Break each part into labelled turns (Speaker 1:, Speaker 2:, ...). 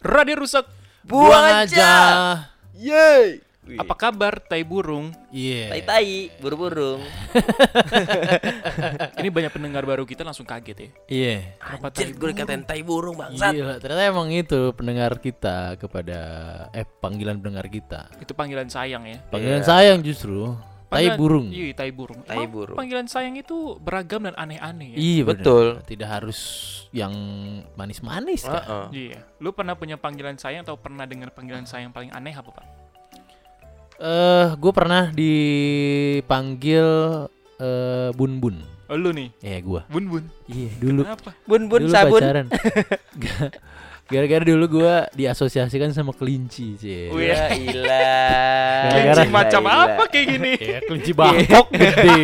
Speaker 1: Aura dia rusak.
Speaker 2: Buang aja.
Speaker 3: Yeay.
Speaker 1: Apa kabar tai burung?
Speaker 2: Iya.
Speaker 3: Tai-tai, buru-burung.
Speaker 1: Eh, Ini banyak pendengar baru kita langsung kaget ya.
Speaker 2: Iya.
Speaker 1: Kenapa
Speaker 3: Anjir,
Speaker 1: tai
Speaker 3: gue dikatain tai burung bangsat.
Speaker 2: Gila, ternyata emang itu pendengar kita kepada eh panggilan pendengar kita.
Speaker 1: burung? Itu panggilan sayang ya.
Speaker 2: Panggilan sayang justru tai
Speaker 1: Panggilan-
Speaker 2: burung.
Speaker 1: Iya, tai burung.
Speaker 3: Tai
Speaker 1: Emang
Speaker 3: burung.
Speaker 1: Panggilan sayang itu beragam dan aneh-aneh ya.
Speaker 2: Iya, bener.
Speaker 3: Betul.
Speaker 2: Tidak harus yang manis-manis kan.
Speaker 3: Heeh.
Speaker 1: Iya. Lu pernah punya panggilan sayang atau pernah dengar panggilan sayang paling aneh apa, Pak?
Speaker 2: Eh, gue pernah dipanggil eh Bun Bun.
Speaker 1: Oh, lu nih.
Speaker 2: Iya, gua.
Speaker 1: Bun-bun.
Speaker 2: Iya, dulu.
Speaker 1: Kenapa?
Speaker 3: Bun-bun
Speaker 2: dulu
Speaker 3: sabun.
Speaker 2: pacaran. Ga- Gara-gara dulu gua diasosiasikan sama kelinci sih.
Speaker 1: Wih.
Speaker 3: Ya ilah.
Speaker 2: Iya. Gara-gara-
Speaker 1: Kelinci macam apa kayak gini?
Speaker 2: Ya, kelinci bangkok gede.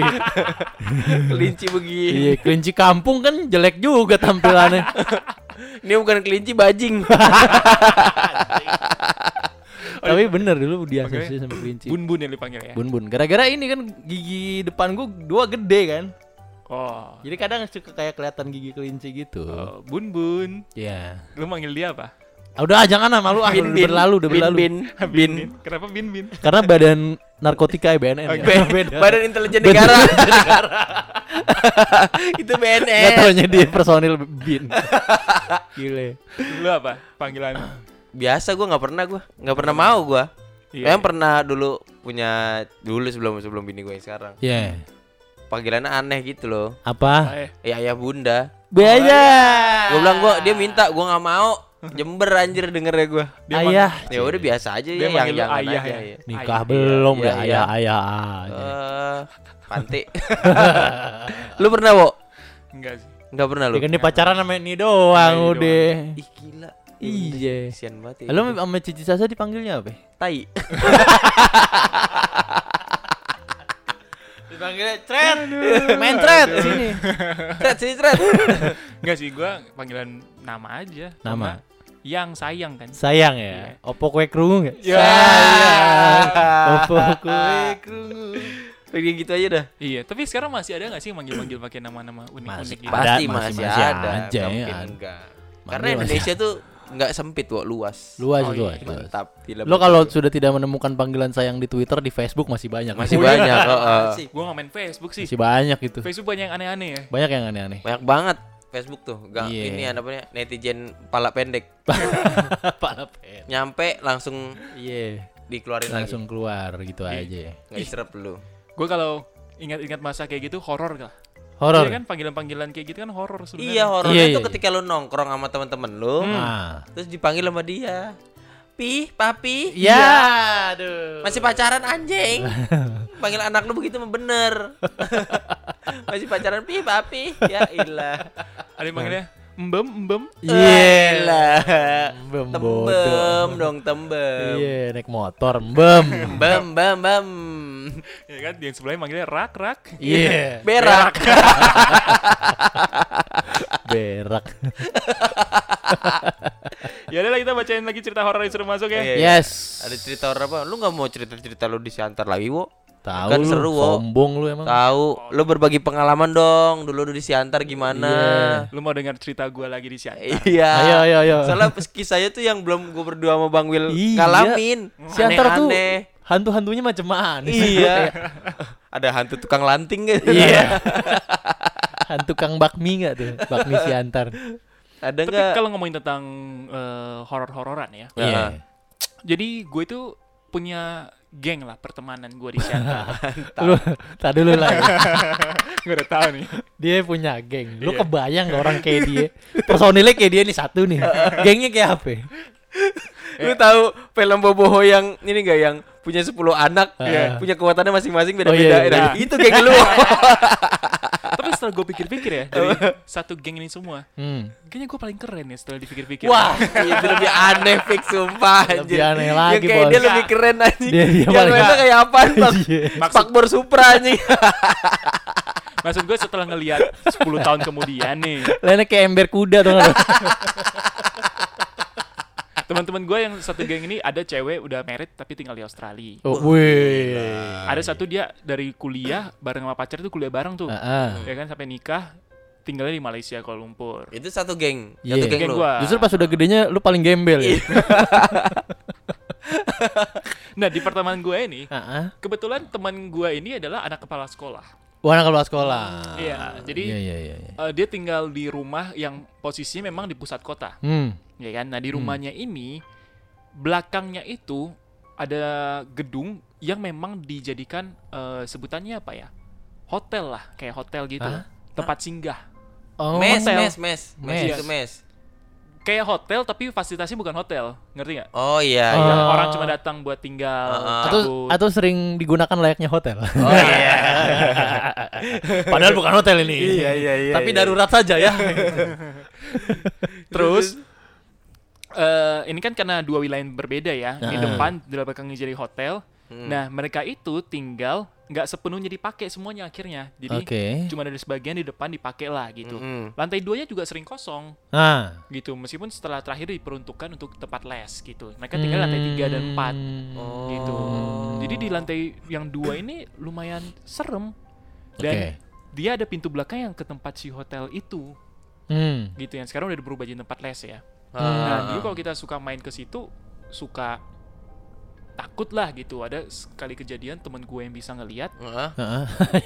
Speaker 3: Kelinci begini.
Speaker 2: Iya, kelinci kampung kan jelek juga tampilannya.
Speaker 3: Ini bukan kelinci bajing. Oh,
Speaker 2: Tapi
Speaker 3: iya.
Speaker 2: bener dulu diasosiasi sama kelinci.
Speaker 1: Bun-bun yang dipanggil ya.
Speaker 2: Bun bun. Gara-gara ini kan gigi depan gua dua gede kan.
Speaker 1: Oh.
Speaker 2: Jadi kadang suka kayak kelihatan gigi kelinci gitu.
Speaker 1: Oh, Bun-bun.
Speaker 2: Iya.
Speaker 1: Lu manggil dia apa?
Speaker 2: Ah, udah jangan lah malu ah, udah berlalu, udah berlalu.
Speaker 3: Bin, bin. bin.
Speaker 1: Kenapa bin-bin?
Speaker 2: Karena badan narkotika ya BNN.
Speaker 1: Oke.
Speaker 2: Ya.
Speaker 3: Badan intelijen negara. Itu
Speaker 2: Nggak
Speaker 3: BNN.
Speaker 2: taunya dia personil bin. Gile.
Speaker 1: Lu apa? Panggilan.
Speaker 3: Biasa gua nggak pernah gua, nggak pernah mau gua.
Speaker 1: Iya.
Speaker 3: Yang pernah dulu punya dulu sebelum sebelum bini gue yang sekarang.
Speaker 2: Ya.
Speaker 3: Panggilannya aneh gitu loh.
Speaker 2: Apa?
Speaker 1: Eh,
Speaker 3: Ya Iya. ayah bunda.
Speaker 2: Biaya.
Speaker 3: Gue bilang gua dia minta gua nggak mau. Jember anjir dengernya gua.
Speaker 1: Dia
Speaker 2: ayah.
Speaker 3: Ya udah biasa aja
Speaker 1: Dia
Speaker 3: ya yang
Speaker 1: manggil lu
Speaker 3: jangan
Speaker 1: ayah
Speaker 3: aja,
Speaker 1: ya?
Speaker 3: ya.
Speaker 2: Nikah
Speaker 1: Ayah.
Speaker 2: belum ya,
Speaker 3: Iya, iya.
Speaker 2: ayah ayah. aja.
Speaker 3: Eh, panti. lu pernah, Wo?
Speaker 1: Enggak sih.
Speaker 3: Enggak pernah lu.
Speaker 2: Dia kan dia pacaran sama ini doang
Speaker 1: Ini
Speaker 2: udah.
Speaker 3: Ih, gila.
Speaker 2: Iya.
Speaker 3: Kasian banget. ya.
Speaker 2: Lo sama Cici Sasa dipanggilnya apa?
Speaker 3: tai.
Speaker 2: Dipanggilnya tret. Main tret sini.
Speaker 3: Tret sini, tret.
Speaker 1: Enggak sih, gua panggilan nama aja.
Speaker 2: Nama?
Speaker 1: Sama Yang sayang kan.
Speaker 2: Sayang ya. Opo kue kerungu enggak?
Speaker 1: Ya.
Speaker 2: Opo kue kerungu.
Speaker 3: Kayak gitu aja dah.
Speaker 1: Iya, tapi sekarang masih ada nggak sih yang manggil-manggil pakai nama-nama
Speaker 2: Masih
Speaker 1: unik-unik gitu?
Speaker 2: ada.
Speaker 3: Pasti
Speaker 2: masih-
Speaker 3: masih,
Speaker 2: masih
Speaker 3: ada.
Speaker 2: aja
Speaker 3: Nggak
Speaker 2: ya,
Speaker 3: mungkin
Speaker 2: ada.
Speaker 3: enggak.
Speaker 2: Masih
Speaker 3: Karena
Speaker 2: masih
Speaker 3: Indonesia tuh enggak sempit, Wo, luas.
Speaker 2: Luas
Speaker 1: Oh,
Speaker 2: itu.
Speaker 1: iya.
Speaker 2: luas.
Speaker 3: Mantap. Gila,
Speaker 2: Lo
Speaker 3: bener.
Speaker 2: kalau sudah tidak menemukan panggilan sayang di Twitter, di Facebook masih banyak.
Speaker 3: masih
Speaker 2: Masih,
Speaker 3: banyak, heeh.
Speaker 1: Gua nggak main Facebook sih.
Speaker 2: banyak itu.
Speaker 1: Facebook banyak yang aneh-aneh ya.
Speaker 2: Banyak yang aneh-aneh.
Speaker 3: Banyak banget Facebook tuh. Gak
Speaker 2: Iya.
Speaker 3: ini apa namanya? Netizen pala pendek.
Speaker 2: Pala pen.
Speaker 3: Nyampe langsung
Speaker 2: Iya.
Speaker 3: dikeluarin
Speaker 2: Langsung keluar gitu aja.
Speaker 3: lagi. Nggak diserap lu.
Speaker 1: Gua kalau ingat-ingat masa kayak gitu horor gak? Iya
Speaker 2: Horor.
Speaker 1: kan panggilan-panggilan kayak gitu kan horor
Speaker 3: Iya,
Speaker 1: sebenarnya.
Speaker 3: horornya
Speaker 2: Iya, iya,
Speaker 3: tuh
Speaker 2: iya.
Speaker 3: ketika lu nongkrong sama teman-teman lu,
Speaker 2: Ah.
Speaker 3: terus dipanggil sama dia. Pi, papi, Iya.
Speaker 2: Ya, aduh.
Speaker 3: masih pacaran anjing. Panggil anak lu begitu mah bener. masih pacaran pi, papi. Ya ilah.
Speaker 1: Ada yang manggilnya Mbem, Mbem.
Speaker 2: Iya.
Speaker 3: Ilah.
Speaker 2: Bem bodoh.
Speaker 3: Tembem dong, tembem.
Speaker 2: Iya, naik motor, bem.
Speaker 3: Bem, bem, bem.
Speaker 1: Ya kan yang sebelahnya manggilnya Rak, Rak.
Speaker 2: Iya,
Speaker 3: Berak.
Speaker 2: berak.
Speaker 1: Ya udah lah, kita bacain lagi cerita horor yang sudah masuk ya.
Speaker 3: Iya.
Speaker 2: Yes.
Speaker 3: Ada cerita horor apa? Lu nggak mau cerita-cerita lu disiantar lagi, Wo?
Speaker 2: Tahu
Speaker 3: Kan
Speaker 2: lu,
Speaker 3: seru, Wo.
Speaker 2: sombong lu emang.
Speaker 3: Tahu, lu berbagi pengalaman dong. Dulu lu disiantar gimana?
Speaker 1: Lu mau dengar cerita gua lagi di siang?
Speaker 3: Iya.
Speaker 2: Ayo, ayo, ayo.
Speaker 3: Soalnya pas kisahnya tuh yang belum gue berdua sama Bang Will
Speaker 2: Iya.
Speaker 3: ngalamin.
Speaker 2: Siantar tuh
Speaker 3: Aneh-aneh.
Speaker 2: hantu-hantunya macam mana?
Speaker 3: Iya. Ada hantu tukang lanting gitu.
Speaker 2: Iya. Hantu Kang Bakmi enggak tuh? Bakmi Siantar.
Speaker 3: Ada
Speaker 1: Tapi
Speaker 3: enggak?
Speaker 1: kalau ngomongin tentang eh, horor-hororan ya.
Speaker 3: Iya.
Speaker 1: Jadi gue itu punya geng lah pertemanan gue di Siantar.
Speaker 2: Lu tadi lu lah. ya.
Speaker 1: gue udah tahu nih.
Speaker 2: Dia punya geng.
Speaker 3: Iya.
Speaker 2: Lu kebayang gak orang kayak dia? Personilnya kayak dia nih satu nih. Gengnya kayak apa? ya?
Speaker 3: Lu tahu film Boboho yang ini enggak yang punya 10 anak,
Speaker 2: Iya.
Speaker 3: punya kekuatannya masing-masing
Speaker 2: Oh, iya,
Speaker 3: beda-beda.
Speaker 2: iya.
Speaker 3: Nah,
Speaker 1: Nah.
Speaker 3: Itu geng lu.
Speaker 1: Tapi setelah gue pikir-pikir ya dari satu geng ini semua,
Speaker 2: Hmm.
Speaker 1: kayaknya gue paling keren ya setelah dipikir-pikir.
Speaker 3: Wah, iya, itu lebih aneh fix sumpah anjir.
Speaker 2: Lebih aneh
Speaker 3: Yang
Speaker 2: lagi,
Speaker 3: kayak
Speaker 2: Bos.
Speaker 3: dia lebih keren anjing.
Speaker 2: Dia- dia
Speaker 3: yang
Speaker 2: paling-
Speaker 3: lainnya kayak apaan, Pak?
Speaker 2: Iya.
Speaker 1: Maksud-
Speaker 3: Spakbor Supra anjing.
Speaker 1: Maksud gue setelah ngelihat 10 tahun kemudian nih,
Speaker 2: Lainnya kayak ember kuda tuh.
Speaker 1: teman-teman gue yang satu geng ini ada cewek udah married tapi tinggal di Australia.
Speaker 2: Oh, wih.
Speaker 1: Ada satu dia dari kuliah bareng sama pacar tuh kuliah bareng tuh.
Speaker 2: Heeh.
Speaker 1: Ya kan sampai nikah tinggalnya di Malaysia Kuala Lumpur.
Speaker 3: Itu satu geng,
Speaker 2: Iya.
Speaker 3: satu geng,
Speaker 1: Geng
Speaker 3: lu.
Speaker 1: gua.
Speaker 2: Justru pas udah gedenya lu paling gembel ya.
Speaker 3: Iya.
Speaker 1: Nah, di pertemanan gue ini,
Speaker 2: Heeh.
Speaker 1: kebetulan teman gue ini adalah anak kepala sekolah.
Speaker 2: Warna kalau sekolah.
Speaker 1: Iya, jadi
Speaker 2: Iya iya iya. iya.
Speaker 1: eh, dia tinggal di rumah yang posisinya memang di pusat kota,
Speaker 2: Hmm.
Speaker 1: ya kan? Nah, di rumahnya ini belakangnya itu ada gedung yang memang dijadikan eh, sebutannya apa ya? Hotel lah, kayak hotel gitu.
Speaker 2: Hah?
Speaker 1: Tempat singgah.
Speaker 2: Oh,
Speaker 3: Mes,
Speaker 1: hotel.
Speaker 3: mes, mes, mes,
Speaker 2: Mes.
Speaker 3: itu mes.
Speaker 1: Kayak hotel tapi fasilitasnya bukan hotel, ngerti nggak?
Speaker 3: Oh
Speaker 2: Oh.
Speaker 3: iya, iya.
Speaker 1: Yang orang cuma datang buat tinggal.
Speaker 3: Ah.
Speaker 2: atau
Speaker 1: cabut.
Speaker 2: atau sering digunakan layaknya hotel.
Speaker 3: Oh iya.
Speaker 2: Padahal bukan hotel ini.
Speaker 3: Iya, iya, iya,
Speaker 2: Tapi
Speaker 3: iya.
Speaker 2: darurat saja ya.
Speaker 1: Terus eh ini kan karena dua wilayah yang berbeda ya. Di
Speaker 2: Nah.
Speaker 1: depan di belakangnya jadi hotel. Nah, mereka itu tinggal nggak sepenuhnya dipakai semuanya akhirnya. Jadi
Speaker 2: Oke.
Speaker 1: cuma ada sebagian di depan dipakai lah gitu.
Speaker 3: Mm-mm.
Speaker 1: Lantai duanya juga sering kosong
Speaker 2: Nah,
Speaker 1: gitu. Meskipun setelah terakhir diperuntukkan untuk tempat les gitu. Mereka tinggal di lantai 3
Speaker 2: Hmm.
Speaker 1: dan 4
Speaker 3: Oh.
Speaker 1: gitu. Jadi di lantai yang dua ini lumayan serem. Dan
Speaker 2: Oke.
Speaker 1: dia ada pintu belakang yang ke tempat si hotel itu
Speaker 2: Hmm.
Speaker 1: gitu yang sekarang udah berubah jadi tempat les ya.
Speaker 3: Ah.
Speaker 1: Nah, dulu kalau kita suka main ke situ suka takut lah gitu. Ada sekali kejadian temen gue yang bisa ngelihat.
Speaker 3: Heeh.
Speaker 2: Heeh.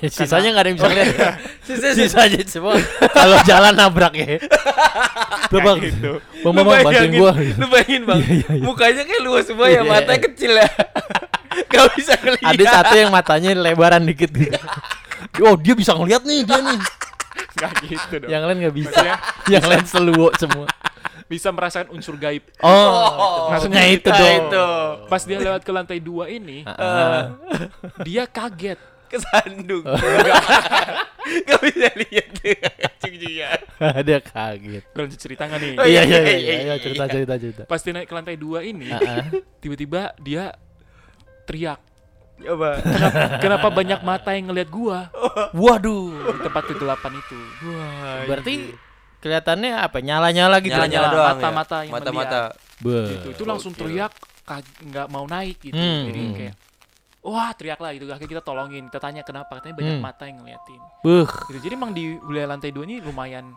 Speaker 2: Sisanya nggak ada yang bisa lihat.
Speaker 3: Sisa- sisa-
Speaker 2: Sisanya semua kalau jalan nabrak ya. Tuh bang, bang, bang,
Speaker 3: gitu. Lu
Speaker 2: bang, bantuin
Speaker 3: bayangin-
Speaker 2: gua.
Speaker 3: Lu bayangin bang,
Speaker 2: Iya, iya, iya.
Speaker 3: mukanya kayak luas semua
Speaker 2: Iya.
Speaker 3: ya, matanya kecil ya. Gak bisa ngeliat.
Speaker 2: Ada satu yang matanya lebaran dikit gitu. Oh dia bisa ngeliat nih dia nih.
Speaker 1: Gak gitu dong.
Speaker 2: Yang lain nggak bisa.
Speaker 1: Maksudnya
Speaker 2: yang lain seluwo semua.
Speaker 1: bisa merasakan unsur gaib.
Speaker 2: Oh, maksudnya itu
Speaker 3: Nah,
Speaker 2: dong.
Speaker 3: itu.
Speaker 1: Pas dia lewat ke lantai dua ini,
Speaker 2: Ah,
Speaker 1: dia kaget.
Speaker 3: Kesandung. Gak bisa lihat. Cing juga.
Speaker 2: dia kaget.
Speaker 1: Gue lanjut cerita nggak nih?
Speaker 3: Ah. Oh,
Speaker 2: Iya iya
Speaker 3: iya,
Speaker 2: iya,
Speaker 3: iya,
Speaker 2: iya
Speaker 3: iya.
Speaker 2: cerita cerita cerita.
Speaker 1: Pas dia naik ke lantai dua ini,
Speaker 2: Heeh.
Speaker 1: tiba-tiba dia teriak.
Speaker 3: Coba.
Speaker 1: Kenapa, kenapa banyak mata yang ngelihat gua
Speaker 2: Waduh.
Speaker 1: di tempat kegelapan itu? Iya.
Speaker 2: Berarti kelihatannya apa? Nyala-nyala gitu.
Speaker 3: Nyala-nyala
Speaker 1: Mata-
Speaker 3: doang
Speaker 1: mata-mata
Speaker 3: ya.
Speaker 1: yang
Speaker 3: Mata-mata.
Speaker 2: Be.
Speaker 1: Gitu. Itu langsung teriak kag- nggak mau naik gitu.
Speaker 2: Hmm.
Speaker 1: Jadi kayak wah teriak lah gitu. Akhirnya kita tolongin, kita tanya kenapa katanya banyak
Speaker 2: Hmm.
Speaker 1: mata yang ngeliatin.
Speaker 2: Buh.
Speaker 1: Gitu. Jadi emang di wilayah lantai dua ini lumayan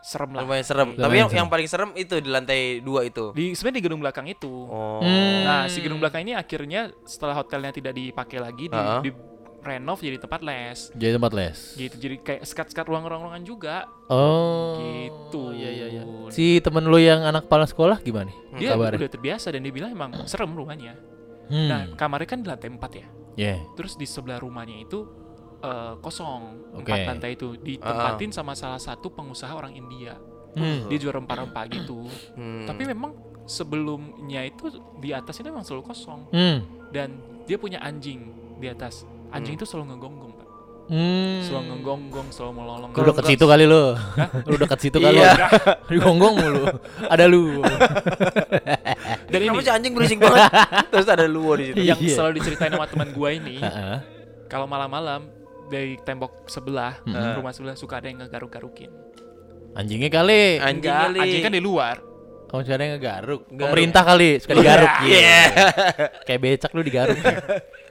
Speaker 1: serem lah.
Speaker 3: Lumayan serem.
Speaker 1: Gitu.
Speaker 3: Tapi
Speaker 2: Lumayan
Speaker 3: yang,
Speaker 2: serem.
Speaker 3: yang paling serem itu di lantai dua itu.
Speaker 1: Di sebenarnya di gedung belakang itu.
Speaker 3: Oh.
Speaker 2: Hmm.
Speaker 1: Nah, si gedung belakang ini akhirnya setelah hotelnya tidak dipakai lagi di,
Speaker 3: Ha-ha.
Speaker 1: di renov jadi tempat les.
Speaker 2: Jadi tempat les.
Speaker 1: Gitu. Jadi kayak sekat-sekat ruang-ruangan juga.
Speaker 2: Oh.
Speaker 1: Gitu.
Speaker 2: Iya iya iya. Si temen lu yang anak kepala sekolah gimana?
Speaker 1: Dia
Speaker 2: Kabarnya?
Speaker 1: udah terbiasa dan dia bilang emang serem rumahnya.
Speaker 2: Hmm.
Speaker 1: Nah, kamarnya kan di lantai 4 ya.
Speaker 2: Yeah.
Speaker 1: Terus di sebelah rumahnya itu eh, kosong
Speaker 2: Oke. Ah.
Speaker 1: empat lantai itu ditempatin sama salah satu pengusaha orang India.
Speaker 2: Hmm.
Speaker 1: Dia jual rempah-rempah gitu.
Speaker 3: Hmm.
Speaker 1: Tapi memang sebelumnya itu di atas itu memang selalu kosong
Speaker 2: Hmm.
Speaker 1: dan dia punya anjing di atas. Anjing itu selalu ngegonggong, Pak.
Speaker 2: Hmm.
Speaker 1: Selalu ngegonggong, selalu melolong.
Speaker 2: Lu deket situ kan? kali lu. Lu deket situ kali. lu.
Speaker 3: Iya.
Speaker 2: Digonggong mulu. Ada lu.
Speaker 1: Dan ini
Speaker 3: Kamu si anjing berisik banget. Terus ada luwo di situ.
Speaker 1: yang
Speaker 2: Iya.
Speaker 1: selalu diceritain sama teman gua ini,
Speaker 2: Heeh.
Speaker 1: kalau malam-malam dari tembok sebelah,
Speaker 2: Mm-mm.
Speaker 1: rumah sebelah suka ada yang ngegaruk-garukin.
Speaker 2: Anjingnya kali.
Speaker 3: Anjing
Speaker 1: Enggak,
Speaker 3: kali.
Speaker 1: anjing kan di luar.
Speaker 2: Kamu sekarang ngegaruk.
Speaker 3: Garuk.
Speaker 2: Pemerintah kali suka digaruk.
Speaker 3: Iya.
Speaker 2: Kayak becak lu digaruk.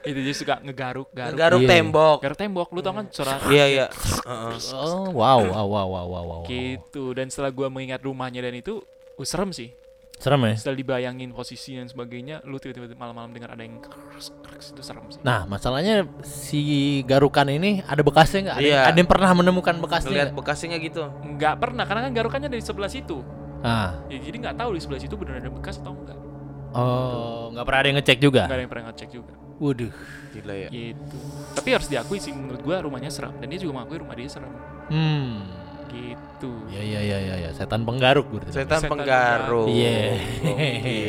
Speaker 1: Itu dia suka ngegaruk, garuk.
Speaker 3: Garuk
Speaker 2: Iya.
Speaker 3: tembok.
Speaker 1: Garuk tembok lu tau kan suara
Speaker 3: Iya iya.
Speaker 2: oh, wow, wow, wow, wow, wow, wow.
Speaker 1: gitu. Dan setelah gua mengingat rumahnya dan itu uh, serem sih.
Speaker 2: Serem ya?
Speaker 1: Setelah dibayangin posisi dan sebagainya, lu tiba-tiba malam-malam dengar ada yang kreks, kreks, itu serem sih.
Speaker 2: Nah, masalahnya si garukan ini ada bekasnya nggak? Ada,
Speaker 3: Iya.
Speaker 2: ada yang pernah menemukan
Speaker 3: Lihat
Speaker 2: bekasnya? nggak?
Speaker 3: bekasnya nggak gitu.
Speaker 1: Nggak pernah karena kan garukannya dari sebelah situ.
Speaker 2: Ah,
Speaker 1: Ya, jadi nggak tahu di sebelah situ benar ada bekas atau enggak.
Speaker 2: Nah. oh, nggak pernah ada yang ngecek juga.
Speaker 1: Nggak ada yang pernah ngecek juga.
Speaker 2: Waduh.
Speaker 3: Gila ya.
Speaker 1: Gitu. Tapi harus diakui sih menurut gua rumahnya serem dan dia juga mengakui rumah dia serem.
Speaker 2: Hmm.
Speaker 1: Gitu.
Speaker 2: Ya, ya, ya, ya, ya. Setan penggaruk berarti.
Speaker 3: Setan
Speaker 1: Setan
Speaker 3: penggaruk. Iya.
Speaker 2: Iya.
Speaker 3: Oke.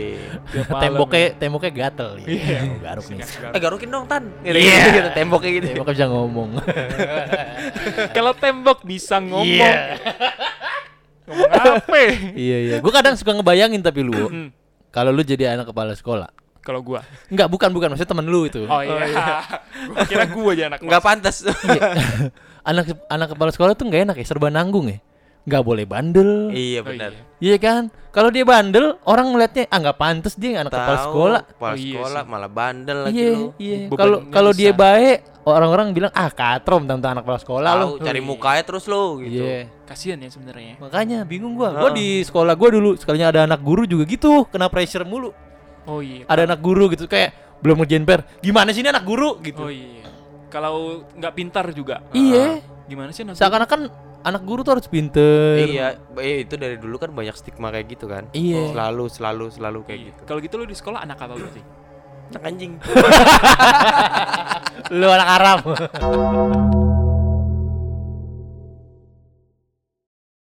Speaker 1: Tiap malam
Speaker 2: Temboknya, temboknya gatel. ya.
Speaker 1: Iya.
Speaker 2: Oh, garuk
Speaker 1: ya.
Speaker 2: nih.
Speaker 1: Garuk.
Speaker 3: Eh garukin dong Tan. Gitu,
Speaker 2: Iya.
Speaker 3: gitu, gitu, Temboknya gitu.
Speaker 2: Temboknya bisa ngomong.
Speaker 1: Kalau tembok bisa ngomong.
Speaker 2: Iya.
Speaker 1: Ngomong apa?
Speaker 2: iya, iya. Gue kadang suka ngebayangin tapi lu,
Speaker 1: Mm.
Speaker 2: kalau lu jadi anak kepala sekolah,
Speaker 1: Kalau gua.
Speaker 2: Enggak, bukan bukan maksudnya temen lu itu.
Speaker 1: Oh iya. gua kira gua aja anak
Speaker 3: Nggak
Speaker 1: kos.
Speaker 3: pantas.
Speaker 2: Iya. anak anak kepala sekolah tuh nggak enak ya, serba nanggung ya. nggak boleh bandel.
Speaker 3: Iya
Speaker 1: Oh,
Speaker 3: benar.
Speaker 1: iya.
Speaker 2: Iya kan? Kalau dia bandel, orang melihatnya ah nggak pantas dia anak kepala
Speaker 3: Tahu,
Speaker 2: sekolah.
Speaker 3: Kepala
Speaker 1: Oh, iya
Speaker 3: sekolah
Speaker 1: sih.
Speaker 3: malah bandel lagi
Speaker 2: Iya,
Speaker 3: lu.
Speaker 2: iya.
Speaker 1: Bebannya
Speaker 2: Kalau kalau dia
Speaker 1: besar.
Speaker 2: baik, orang-orang bilang ah katrom tentang anak kepala sekolah
Speaker 3: Tahu
Speaker 2: lo.
Speaker 3: cari mukanya terus lu gitu.
Speaker 2: Oh, Iya.
Speaker 1: Kasihan ya sebenarnya.
Speaker 2: Makanya bingung gua. Gua di sekolah gua dulu sekalinya ada anak guru juga gitu, kena pressure mulu.
Speaker 1: Oh iya.
Speaker 2: Ada anak guru gitu kayak belum ngerjain PR. Gimana sih ini anak guru gitu.
Speaker 1: Oh iya. Kalau nggak pintar juga.
Speaker 2: Iya,
Speaker 1: Gimana sih nanti?
Speaker 2: seakan-akan anak guru tuh harus pinter.
Speaker 3: Iya, ba- iya, itu dari dulu kan banyak stigma kayak gitu kan.
Speaker 2: Iya.
Speaker 3: Selalu selalu selalu kayak gitu.
Speaker 1: Kalau gitu lu di sekolah anak apa berarti?
Speaker 3: Anak anjing.
Speaker 2: Lu anak Arab.